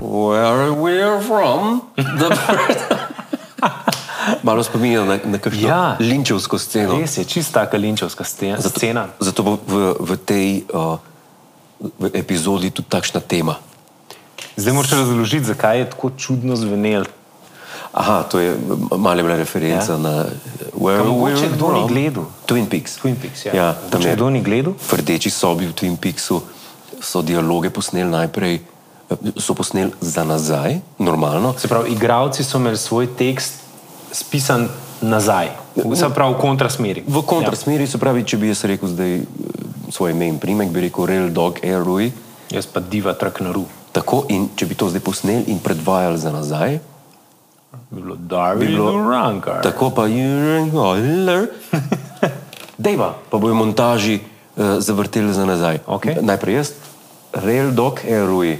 Where we're from. Da- Malo spominja na, na kakšno Ja. linčevsko sceno. Res je, čista kalinčovska ste- scena. Zato bo v, v tej uh, epizodi tudi takšna tema. Zdaj moraš razložiti, zakaj je tako čudno zvenel. Aha, to je malo bila referenca ja. Ja. na Where Ga Ja, mogoče Where kdo From? ni gledal. Twin Peaks. Twin Peaks, ja. ja tam Mogoče je kdo ni gledal? V rdeči sobi v Twin Peaksu so dialoge posneli najprej, so posneli za nazaj, normalno. Se pravi, igravci so imeli svoj tekst spisan nazaj, se pravi v kontrasmeri. V kontrasmeri, ja. se pravi, če bi jaz rekel zdaj eh, svoje ime in primek, bi rekel Real Dog Air Rui. Ja. Jaz pa diva trak na ru. Tako in če bi to zdaj posneli in predvajali za nazaj, Bi bilo Darwin, Rankar. tako pa je Euler. Dejva, pa bojo montaži uh, zavrteli za nazaj. Okej. N- Najprej jaz, Real Dog Air Rui.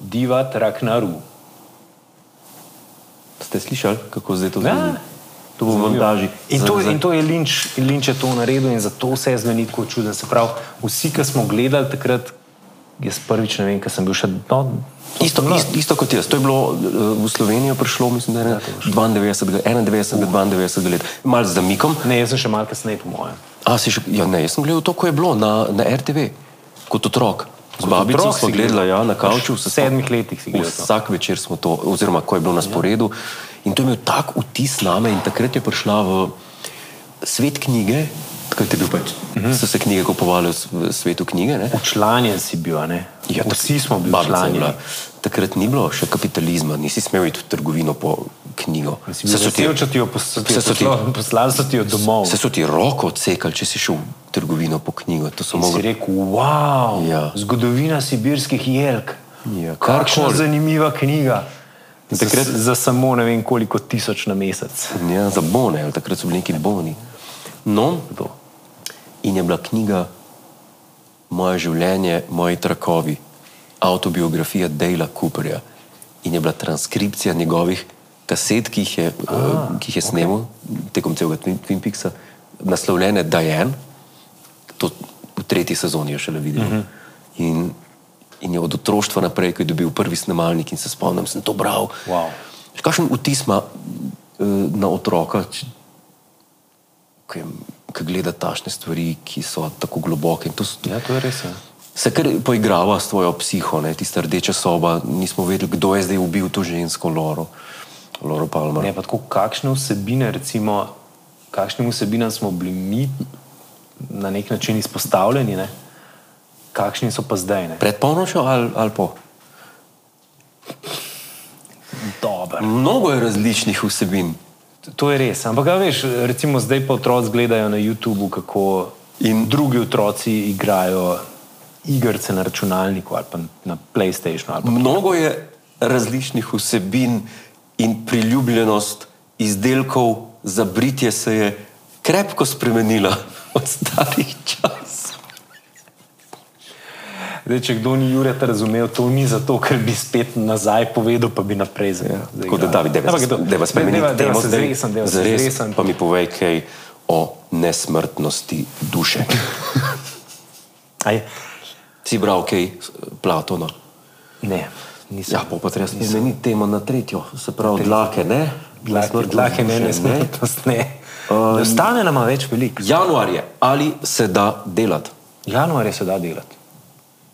Diva trak na ru. Ste slišali, kako zdaj to Ja. zveni? To bo v montaži. In za to, nazaj. in to je Lynch, Lynch je to naredil in zato vse zveni tako čudno. Se pravi, vsi, ki smo gledali takrat, jaz prvič ne vem, ker sem bil še no, Isto, isto, isto kot jaz. To je bilo eh, v Slovenijo prišlo, mislim, da je Ja, 92, 91, 92 let, malo z zamikom. Ne, jaz sem še malce kasneje, po mojem. A, si še, ja, ne, jaz sem gledal to, ko je bilo na, na RTV, kot otrok. Z babico otrok smo si gledali gledal? ja, na kavču. Pač se v sedmih spomnim. letih si gledal to. Vsak večer smo to, oziroma ko je bilo na Ja. sporedu. In to je imel tak vtis name in takrat je prišla v svet knjige. Takrat je bil pač, Mhm. so se knjige kupovali v s- v svetu knjige. Ne? Učlanjen si bil, a ne? Ja, tak- Vsi smo bili babica je učlanjeni. bila. Takrat ni bilo še kapitalizma, nisi smel iti v trgovino po knjigo. Si bil Saj so ti- vesel, če ti jo pos- ja, so ti jo Vse so ti- poslo- poslali, so ti jo domov. Vse so ti roko odsekali, če si šel v trgovino po knjigo. To so In si mogli. rekel, wow, Ja. zgodovina sibirskih jelk. Ja, Kakšna karkoli. zanimiva knjiga. Za, Takrat- za samo ne vem koliko tisoč na mesec. Ja, za bone, ali takrat so bili neki boni. No, Kdo? in je bila knjiga Moje življenje, moji trakovi, autobiografija Dela Cooperja. In je bila transkripcija njegovih kaset, ki jih je, ah, ki jih je snemal okay. tekom celega Twin, Twin Peaksa, naslovljene Dajen, to v tretji sezoni je šele videl. Uh -huh. in, in je od otroštva naprej, ko je dobil prvi snemalnik in se spomnim, sem to bral. Wow. Kakšen vtis ima eh, na otroka, če- ki, ki gleda tašne stvari, ki so tako globoke. in To so, Ja, to je res. Ja. se kar poigrava s tvojo psiho, ne? tista rdeča soba, nismo vedeli, kdo je zdaj ubil to žensko Loro, Loro Palmer. Ne, pa tako, kakšne vsebine, recimo, kakšnim vsebinam smo bili mi na nek način izpostavljeni, ne? kakšni so pa zdaj. Ne? Pred polnočjo ali, ali po? Dober. Mnogo je različnih vsebin. To je res. Ampak, a veš, recimo zdaj pa otroci gledajo na YouTubu, kako in drugi otroci igrajo igrice na računalniku ali pa na PlayStationu. Ali pa. Mnogo je različnih vsebin in priljubljenost izdelkov za britje se je krepko spremenila od starih časov. Zdaj, če kdo ni Jureta razumel, to ni zato, ker bi spet nazaj povedal, pa bi naprej zvedel. Ja, Tako da, David, da vas spremeni temo Zdaj zdaj. resen, da vas Zares, resen. Pa mi povej kaj o nesmrtnosti duše. Si bral kaj s- eh, Platona? Ne, nisem. Ja, pa pa treba spremeniti temo na tretjo, se pravi dlake, ne? Nesmrtnost Lahko ne, duše, ne Um, smrtnost, ne. Ne Ostane nama več veliko. Januar je, ali se da delati? Januarja se da delati.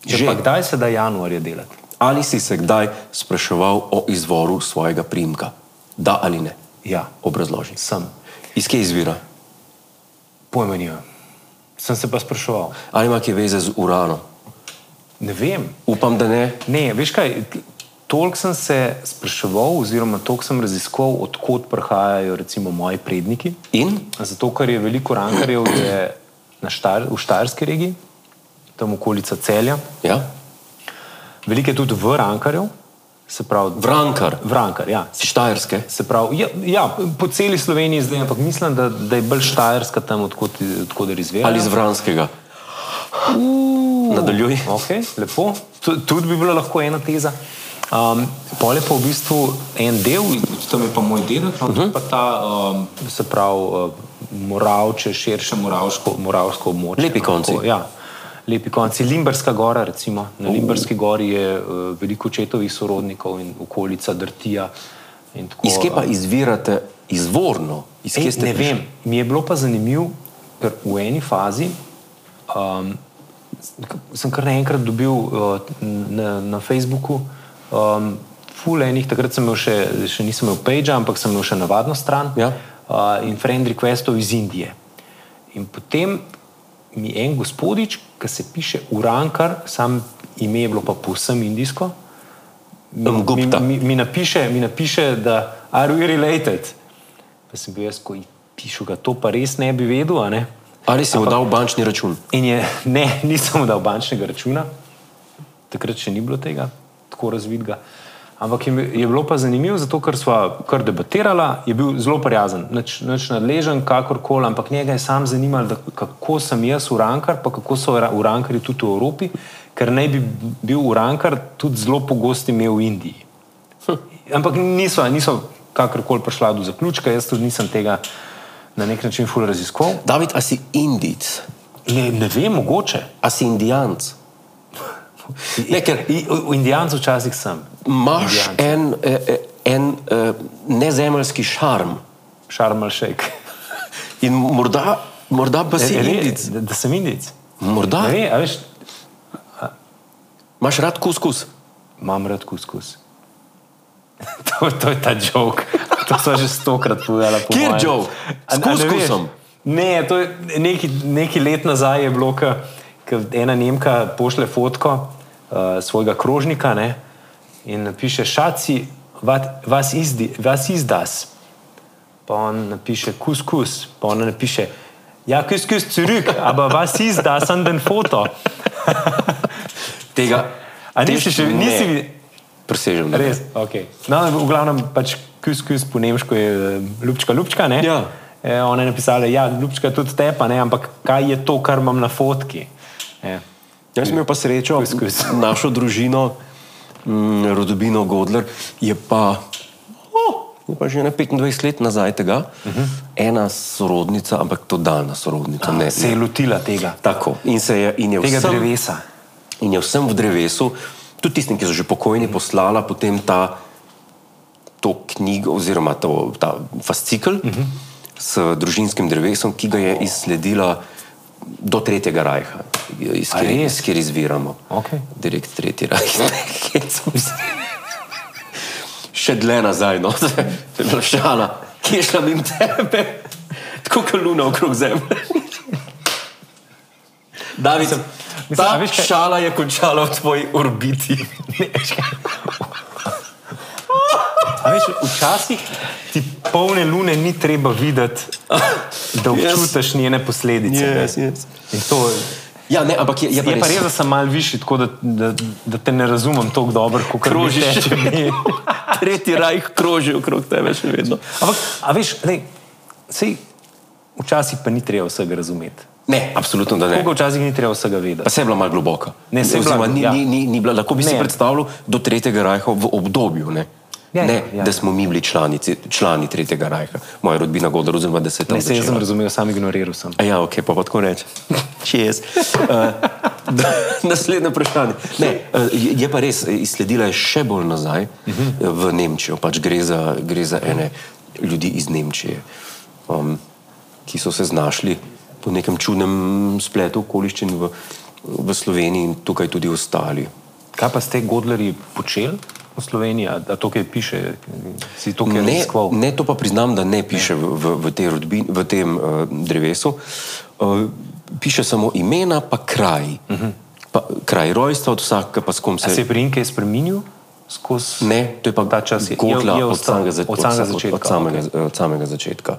Že Že. Ja, pa kdaj se da januarja delati? Ali si se kdaj spraševal o izvoru svojega primka? Da ali ne? Ja, Obrazloži. sem. Iz kje izvira? Pojma nimam. Sem se pa spraševal. Ali ima kje veze z uranom? Ne vem. Upam, da ne. Ne, veš kaj, toliko sem se spraševal, oziroma toliko sem raziskoval, odkot prihajajo recimo moji predniki. In? Zato, ker je veliko rankarjev je na štar, v Štajerski regiji, tam okolica celja. Ja? Veliko je tudi v rankarjev, se pravi, Vrankar, vrankar, ja. iz Štajerske. Se pravi, ja, ja, po celi Sloveniji zdaj, ampak mislim, da, da je bolj Štajerska tam, odkot, odkot izvira. ali iz Vranskega. Nadaljuj. Okay, lepo. Tu- Tudi bi bila lahko ena teza. Um, Pole pa v bistvu en del, tam je pa moj dedek, no, uh -huh. pa ta, um, se pravi, uh, moravče, širše moravsko, moravsko območje. Lepi no, konci. tako, ja. Lepi konci. Limbarska gora, recimo. Na Limbarski gori je uh, veliko četovih sorodnikov in okolica Drtija. In tako, Iz kje pa um, izvirate izvorno? Iz kje Ej, ste ne prišli? vem, mi je bilo pa zanimivo, ker v eni fazi um, sem kar naenkrat dobil uh, na, na Facebooku. Um, Ful enih, takrat sem imel še, še nisem imel Page, ampak sem imel še navadno stran Ja. uh, in friend requestov iz Indije. In potem mi en gospodič, ki se piše Urankar, sam ime je bilo pa povsem indijsko, mi, Mgupta. mi, mi, mi, napiše, mi napiše, da are we related. Pa sem bil jaz, ko pišu ga, to pa res ne bi vedel. a Ne? Ali si mu dal bančni račun? In je, ne, nisem mu dal bančnega računa, takrat še ni bilo tega, tako razvidnega. Ampak je, mi- je bilo pa zanimivo, zato ker smo kar debatirali, je bil zelo prijazen, nič, nič nadležen, kakorkoli, ampak njega je sam zanimalo, da, kako sem jaz urankar, pa kako so ra- urankarji tudi v Evropi, ker naj bi bil urankar tudi zelo pogost ime v Indiji. Ampak niso, niso kakorkoli prišla do zaključka, jaz tudi nisem tega na nek način ful raziskoval. David, a si indic, Ne, ne vem, mogoče. a si indijanc. Ne, ker I- V Indijancu včasih sem, imaš Indijanci. en, eh, eh, en eh, nezemeljski šarm šarmal šejk. in morda, morda pa si indic. Da, e, da sem indic. Morda Ne, ve, a veš, imaš rad kuskus. imam rad kuskus. to, to je ta jok. To so že stokrat povedala. po Kjer mojem. joke? S A- a ne veš? kuskusom? Ne, to je neki, neki let nazaj je bilo, ko ena Nemka pošle fotko uh, svojega krožnika ne, in napiše šaci, vat- vas, izdi, vas izdas. Pa on napiše kuskus, pa ona napiše, ja, kuskus ciruk, ampak vas izdas, anden foto. Tega. A nisi še, ne. nisi videl? Presežem. da ne. Res, okay. no, v glavnem, pač kus, kus po nemško je eh, ljubčka, ljubčka. Ne? Ja. E, ona je napisala, da ja, je ljubčka tudi tepa, ne? ampak kaj je to, kar imam na fotki? E. Jaz sem imel pa srečo, Kus, kus. našo družino, mm, rodbino Godler, je pa, oh, je pa že ne 25 let nazaj tega, uh -huh. ena sorodnica, ampak totalna sorodnica. ne, Se je lotila tega, Tako. In, se je, in, je tega vsem, drevesa. in je vsem v drevesu, tudi tistim, ki so že pokojni, poslala potem ta, to knjigo, oziroma to, ta fascikl uh -huh. s družinskim drevesom, ki ga je izsledila do Tretjega rajha, iz A kjer- res? iz kjer izviramo. Okay. Direkt tretji rajh, kjer smo se. Še dlje nazaj, no, to je bila šala, ki je šla mimo tebe, tako kot luna okrog zemlje. David, mislim, mislim, a ta veš mislim, kaj- šala je končala v tvoji orbiti. A Veš, včasih ti polne lune ni treba videti, da Yes. občutiš njene posledice. ne. Yes, yes. In To, Ja, ne, ampak je, je, je pa res, da da sem malo višji, tako da, da, da te ne razumem tako dobro, kot Krožiš. krožiš. Če bi tretji rajh kroži okrog tebe še vedno. Ampak, a veš, lej, sej, včasih pa ni treba vsega razumeti. Ne, absolutno da ne. Koga včasih ni treba vsega Pa vedeti. se je bila malo globoka. Ne, saj je bila, Oziroma, ni, ja. ni, ni, ni bila, lahko bi ne. si Ne. predstavljal do Tretjega rajha v obdobju, ne? Ja, ja, ne, ja. da smo mi bili članici, člani Tretjega rajha, moja rodbina Godar, oziroma da se je tam Ne, se jaz sem začela. razumel, sam ignoriral sem. A ja, ok, pa, pa tako reče. Čez. Uh, naslednje vprašanje. Ne, uh, je je pa res, eh, izsledila je še bolj nazaj uh -huh. v Nemčijo. Pač gre, za, gre za ene ljudi iz Nemčije, um, ki so se znašli po nekem čudnem spletu okoliščin v, v Sloveniji in tukaj tudi ostali. Kaj pa ste godlerji počeli v Sloveniji, a, a to, kaj piše, si to, kaj Ne, raziskoval? ne, to pa priznam, da ne piše v, v, v, tej rodbin, v tem uh, drevesu. Uh, piše samo imena, pa kraj. Uh -huh. pa, kraj rojstva, od vsakega pa s kom Mhm. A se je se. pri Inke spremenil skozi Ne, to je pa ta čas? Je, Godla je, je od ostal- samega, za, od samega od, začetka. Od, od, samega, okej. okay. od samega začetka.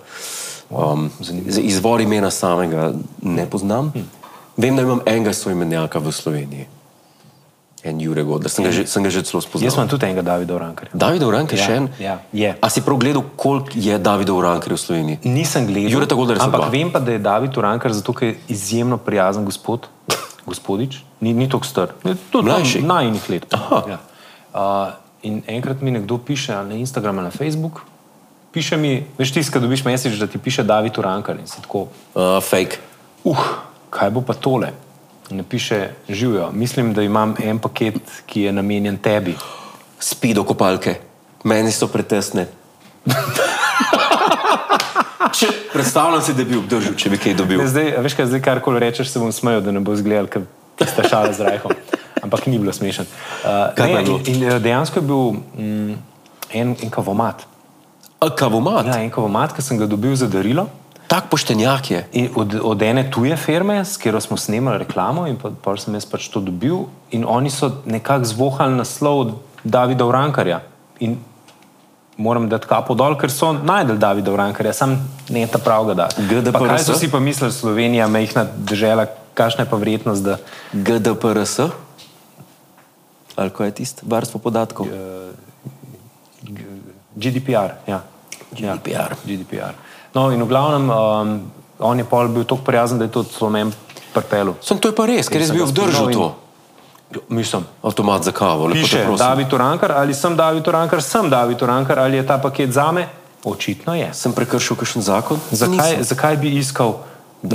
Um, zdaj, izvor imena samega ne poznam. Hm. Hmm. Vem, da imam enega soimenjaka v Sloveniji. En Jure Godler, sem ga že, sem ga že celo spoznal. Jaz imam tudi enega Davida Rankarja. Davidov rank je Ja, še en. ja, je. A si prav gledal, koliko je Davidov rank v Sloveniji? Nisem gledal. Jureta Godlerja sta dva. Ampak vem pa, da je David Urankar zato, ker je izjemno prijazen gospod, gospodič, ni, ni tako star. Ne, Tudi Mlajši. Najnih let. Aha. Ja. Uh, In enkrat mi nekdo piše ali na Instagram, ali na Facebook, piše mi, veš, tiskaj dobiš mesič, da ti piše David Urankar in si tako, Uh, fake. uh, kaj bo pa tole? In napiše, živijo, mislim, da imam en paket, ki je namenjen tebi. Spi do kopalke, meni so pretesne. Če, predstavljam si, da bi obdržal, če bi kaj dobil. Ne, Zdaj, a veš, kaj zdaj karkoli rečeš, se bom smejal, da ne bo izgledal, ker ste šale z rajhom. Ampak ni bilo smešen. Uh, Kaj pa je bilo? in, in eh, dejansko je bil mm, en, en kavomat. A kavomat, Ja, en kavomat, ki sem ga dobil za darilo. tak poštenjak je. In od, od ene tuje firme, s katero smo snemali reklamo, in pa, pa sem jaz pač to dobil. In oni so nekako zvohali naslov od Davida Urankarja. In moram dati kapo dol, ker so najdel Davida Urankarja, sam ne ta pravga da. GDPRS? Pa Kaj so si pa mislili, Slovenija, mehna država, kakšna je pa verjetnost, da GDPRS, ali kaj je tisto, varstvo podatkov. GDPR. Ja. GDPR. Ja, GDPR. No, in v glavnem, um, on je pol bil tako prijazen, da je to celo meni prpelo. Sem to je pa res, ker jaz bi sem ga obdržal spoznal in- to. Mislim. Avtomat za kavo, lepo te Piše, prosim. David Urankar, ali sem David Urankar, sem David Urankar, ali je ta paket za me? Očitno je. Sem prekršil kakšen zakon? Zakaj, Nisem. zakaj bi iskal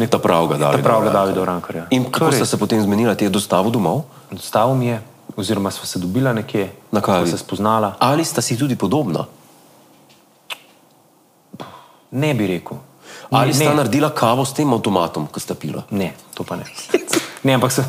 Ta pravga, da. pravega Davida Urankarja? In kako ste se potem zmenili, ti je dostavil domov? Dostavil mi je, oziroma sva se dobila nekje, Na kavi. sva se spoznala. Ali sta si tudi podobna? Ne bi rekel. Ali ne, sta ne, naredila kavo s tem avtomatom, ki sta pila? Ne, to pa ne. ne ampak se,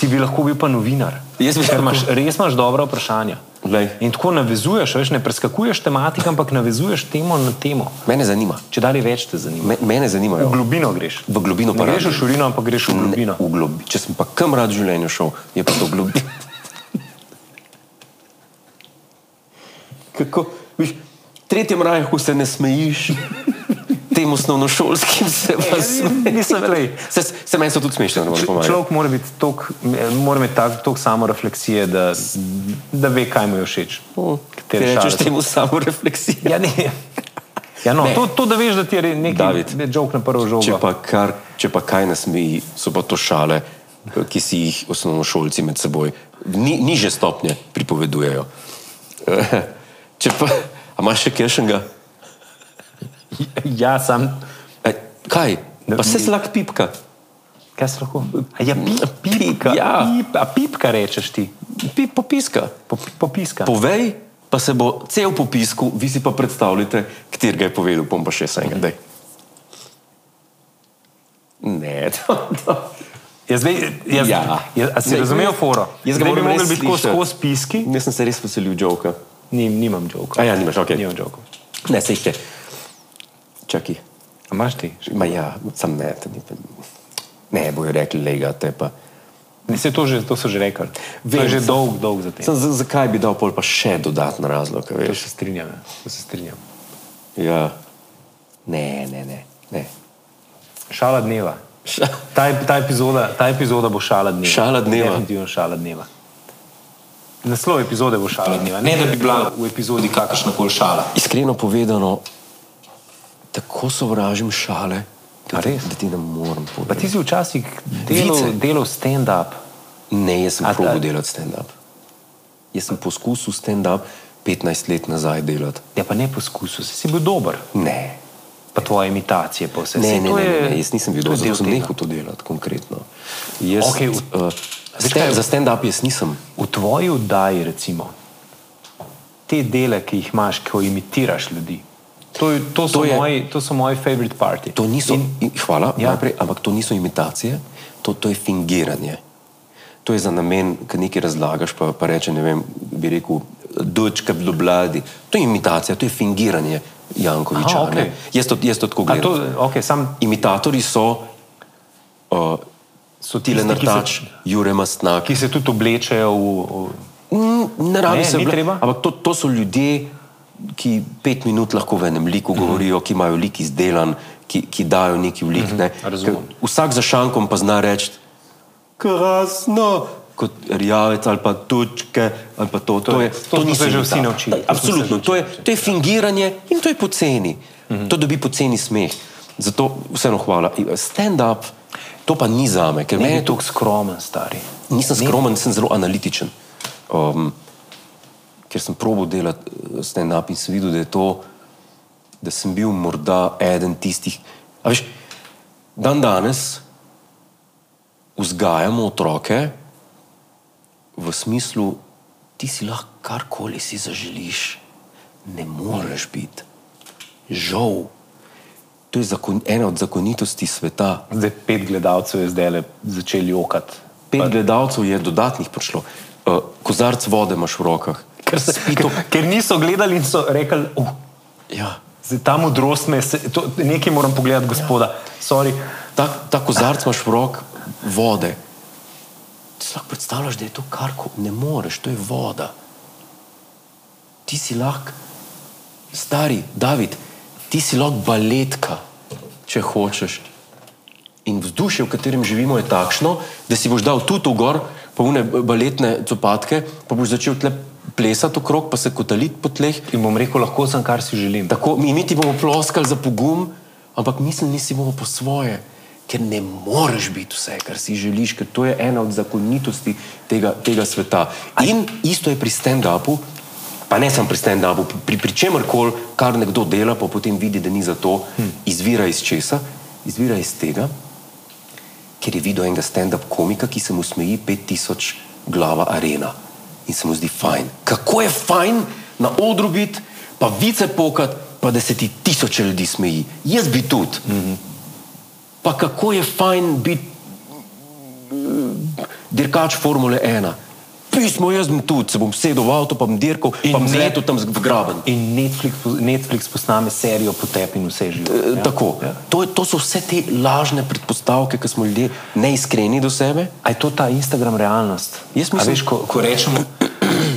ti bi lahko bil pa novinar. Jaz bi Ker lahko. imaš, res imaš dobra vprašanja. Glej. In tako navezuješ, veš, ne preskakuješ tematik, ampak navezuješ temo na temo. Mene zanima. Če dalje več te zanima. Me, mene zanima. V globino greš. V globino pa Ne greš v rad. širino, ampak greš v globino. Ne, v globi. Če sem pa kam rad v življenju šel, je pa to globina. Kako, viš, v tretjem rajhu se ne smejiš, tem osnovnošolskim se pa smeješ. Nisem lej. Se, se meni so tudi smešne, ne morem pomagati. Človek mora biti tok, eh, mora imeti tak- toliko samorefleksije, da, da ve, kaj mu je všeč. Ti Katere šale rečeš so- temu samo refleksija. Ja, ne. Ja, no, Ne. to, to, da veš, da ti je re- nekaj David. žog na prvo žogo. Če pa, kar, če pa kaj nas meji, so pa to šale, ki si jih osnovnošolci med seboj, ni, niže stopnje, pripovedujejo. Eh, Če pa, a imaš še kešenga? Ja, sam. E, Kaj? Ne, Pa se ni. slak pipka. Kaj se lahko? A ja, pi, Pip, pipka. ja. Pip, a pipka rečeš ti, Pip popiska. Po- popiska. Povej, pa se bo cel popisku, vi si pa predstavljate, kjer ga je povedal, bom pa še sam enega. daj. Ne, to, to. Jaz zdaj, jaz, Ja. jaz, a si Ne, razumel foro? jaz ga Zdaj bi moram mogel res biti tako slišati. skozi piski. Jaz sem se res veselil, Joka. Nim, nimam žoga. A ja, nimaš, okej. Nimam žoga. Ne, se jih še. Čakaj. A imaš ti? Ma ja, sam ne, to ni pa. Ne bojo rekli, lega te pa. Ne, saj to, že, to so že rekli. Vem, to Vem, je že sem- dolg, dolg za tem. Sem, z, zakaj bi dal pol pa še dodatni razlog, a To veš? se strinjam. ja. To se strinjam. Ja. Ne, ne, ne. ne. Šala dneva. Ša, Ta, ep- ta, epizoda, ta epizoda bo šala dneva. Šala dneva. Definitivno šala dneva. Naslov epizode bo šala dneva. Ne, da bi bila v epizodi kakršna koli šala. iskreno povedano, tako sovražim šale, da, A ti- res? da ti ne morem Pa povedati. ti si včasih delal, Vice. delal stand-up. Ne, jaz sem A- a- probal delati stand-up. Jaz sem poskusil stand-up 15 let nazaj delati. Ja, pa ne poskusil, si, si bil dober. Ne. Pa tvoje imitacije, pa vse. Ne, Saj ne, to ne, je- ne, ne, jaz nisem bil to je dober, zato del sem tega. nehal to delati konkretno. Jaz, Okej, v- uh, Veš ste, kaj? za stand-up jaz nisem. V tvoji oddaji, recimo, te dele, ki jih imaš, ko imitiraš ljudi, to, je- to, so, To je- moji, to so moji favorite party. To niso, In, in, hvala, Ja. ja. najprej, ampak to niso imitacije, to, to je fingiranje. To je za namen, ki nekaj razlagaš, pa, pa reče, ne vem, bi rekel, dočka do bladi. To je imitacija, to je fingiranje Jankoviča. Aha, a ne. okej. jaz, to, jaz to tako A gledam. to, okay, sam Imitatori so uh, so ti Tile Nartač, Jure Mastnak, ki se tudi oblečejo v, Mm, Ne rabi Ne, se ni obla- treba? Ampak to, to so ljudje, ki pet minut lahko v enem liku Mhm. govorijo, ki imajo lik izdelan, ki, ki dajo neki vlik. Ne. Mhm, razumem. Ker Vsak za šankom pa zna reči, krasno. Kot rjavec ali pa točke, ali pa to, to, je- je, to smo se že vsi naučili, to smo se že Mhm. Absolutno, vsi to je, to je fingiranje in to je poceni. To dobi poceni smeh. Zato vseeno hvala. Stand-up, to pa ni za me, ker v meni ne je to tako skromen, stari. Nisem skromen, sem zelo analitičen. Um, Ehm, ker sem probo delati eh, stand-up in sem videl, da je to, da sem bil morda eden tistih. A veš, dan danes vzgajamo otroke v smislu, ti si lahko karkoli si zaželiš, ne moreš biti. Žal. To je zakon, ena od zakonitosti sveta. Zdaj pet gledalcev je zdaj le začeli jokati. Pet gledalcev je dodatnih prišlo. Uh, kozarc vode imaš v rokah. Ker, se, ker, ker niso gledali in so rekli, oh, Ja. zdaj ta modrost me, se, to, nekaj moram pogledati, gospoda. Sorry. Ta, ta kozarc imaš v rok vode. Ti si lahko predstavljaš, da je to kar ko ne moreš, to je voda. Ti si lahko, stari David, ti si lahko baletka, če hočeš. In vzdušje, v katerem živimo, je takšno, da si boš dal tudi v gor, pa vne baletne copatke, pa boš začel tle plesati okrog, pa se kotaliti po tleh. In bom rekel, lahko sem, kar si želim. Tako, mi, mi ti bomo ploskali za pogum, ampak mislili si bomo po svoje, ker ne moreš biti vse, kar si želiš, ker to je ena od zakonitosti tega, tega sveta. In isto je pri stand-upu, pa ne samo pri stand-upu, pri, pri čemer koli, kar nekdo dela, pa potem vidi, da ni za to, izvira iz česa, izvira iz tega, ker je videl enega stand-up komika, ki se mu smeji 5000 glava arena in se mu zdi fajn. Kako je fajn na odru biti, pa vice pokat, pa da se ti tisoče ljudi smeji. Jaz bi tudi. Mm -hmm. Pa kako je fajn biti eh, dirkač Formule 1. Pismo, jaz bom tudi, se bom sedel v avto, pa bom dirkal, In pa bom ne- zletel tam zgraben. In Netflix, po- Netflix posname serijo potep in vse živo. Ja, Tako. Ja. To, je- to so vse te lažne predpostavke, ki smo ljudje neiskreni do sebe. A je to ta Instagram realnost? Jaz A mislim- veš, ko, ko rečemo,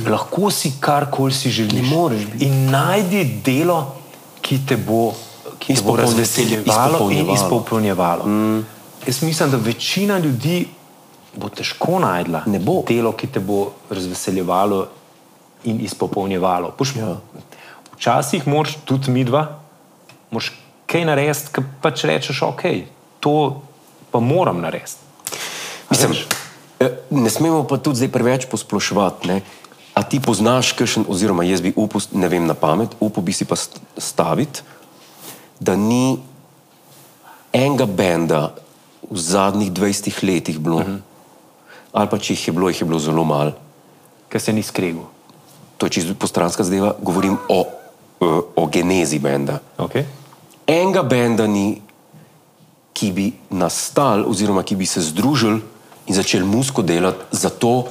lahko si karkoli si želiš. Ne moreš biti. In najdi delo, ki te bo, ki te bo Izpopolnjevalo. razveseljevalo in Izpopolnjevalo. izpopolnjevalo. Mm. Jaz mislim, da večina ljudi bo težko najdla Ne bo. delo, ki te bo razveseljevalo in izpopolnjevalo. Boš, ja. Včasih moraš tudi mi dva, moraš kaj narediti, ki pač rečeš, ok, to pa moram narediti. Mislim, veš? eh, ne smemo pa tudi zdaj preveč posploševati. ne. A ti poznaš, kakšen, oziroma jaz bi upal, ne vem na pamet, upal bi si pa st- staviti, da ni enega benda v zadnjih 20 letih bilo, uh -huh. ali pa če jih je bilo, jih je bilo zelo malo. Ker se ni skregal. To je čisto postranska zadeva, govorim o, o, o genezi benda. Okay. enega benda ni, ki bi nastal, oziroma ki bi se združil in začel musko delati, zato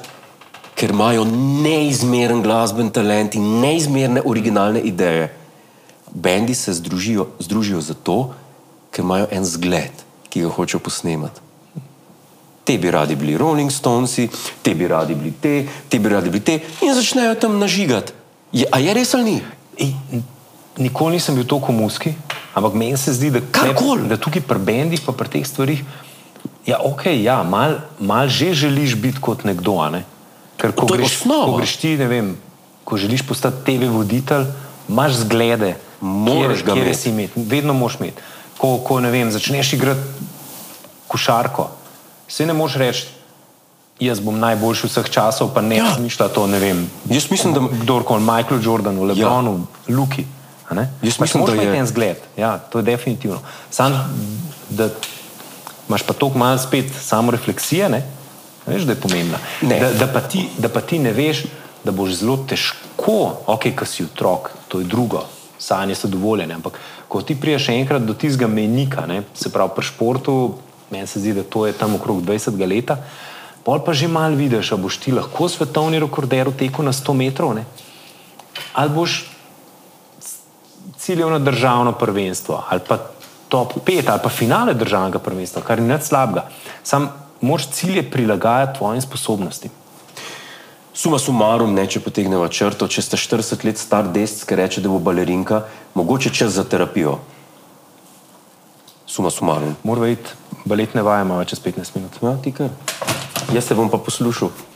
ker imajo neizmeren glasben talent in neizmerne originalne ideje. Bendi se združijo, združijo zato, ker imajo en zgled, ki ga hočejo posnemati. Te bi radi bili Rolling Stonesi, te bi radi bili te, te bi radi bili te, in začnejo tam nažigati. Je, a je res ali ni? In, nikoli nisem bil tako muski, ampak meni se zdi, da, Karkoli. da tukaj pri bendih, pa pri teh stvarih, ja, ok, ja, mal, mal že želiš biti kot nekdo. a Ne? Ker ko To je greš, osnova. ko greš ti, ne vem, ko želiš postati TV voditelj, imaš zglede, Moraš ga kjer imeti. si imeti, vedno moš imeti. Ko, ko ne vem, začneš igrati košarko, se ne moš reči. Jaz bom najboljši vseh časov, pa ne Ja. razmišlja to, ne vem, Jaz mislim, da kdorkoli, Michael Jordan, Lebronu, ja. Luki. a ne? Jaz Pač mislim, moraš da je- imeti en zgled. Ja, to je definitivno. Sam, da imaš pa toliko malo spet samo refleksije, ne? veš, da je pomembna. Ne. Da, da, pa ti, da pa ti ne veš, da boš zelo težko, ok, ko si otrok, to je drugo. Sanje so dovoljene, ampak ko ti priješ enkrat do tistega menika, ne, se pravi pri športu, meni se zdi, da to je tam okrog 20 let, pol pa že malo vidiš, a boš ti lahko svetovni rekorder v teku na 100 metrov, ne? ali boš ciljev na državno prvenstvo ali pa top 5 ali pa finale državnega prvenstva, kar ni nič slabega. Sam moš cilje prilagajati tvojim sposobnostim. Suma sumarum, ne, če potegnemo črto, če ste 40 let star desc, ki reče, da bo balerinka, mogoče čas za terapijo. Suma sumarum. Moramo iti, baletne vaje imamo čez 15 minut. Ja, ti kar. Jaz se bom pa poslušal.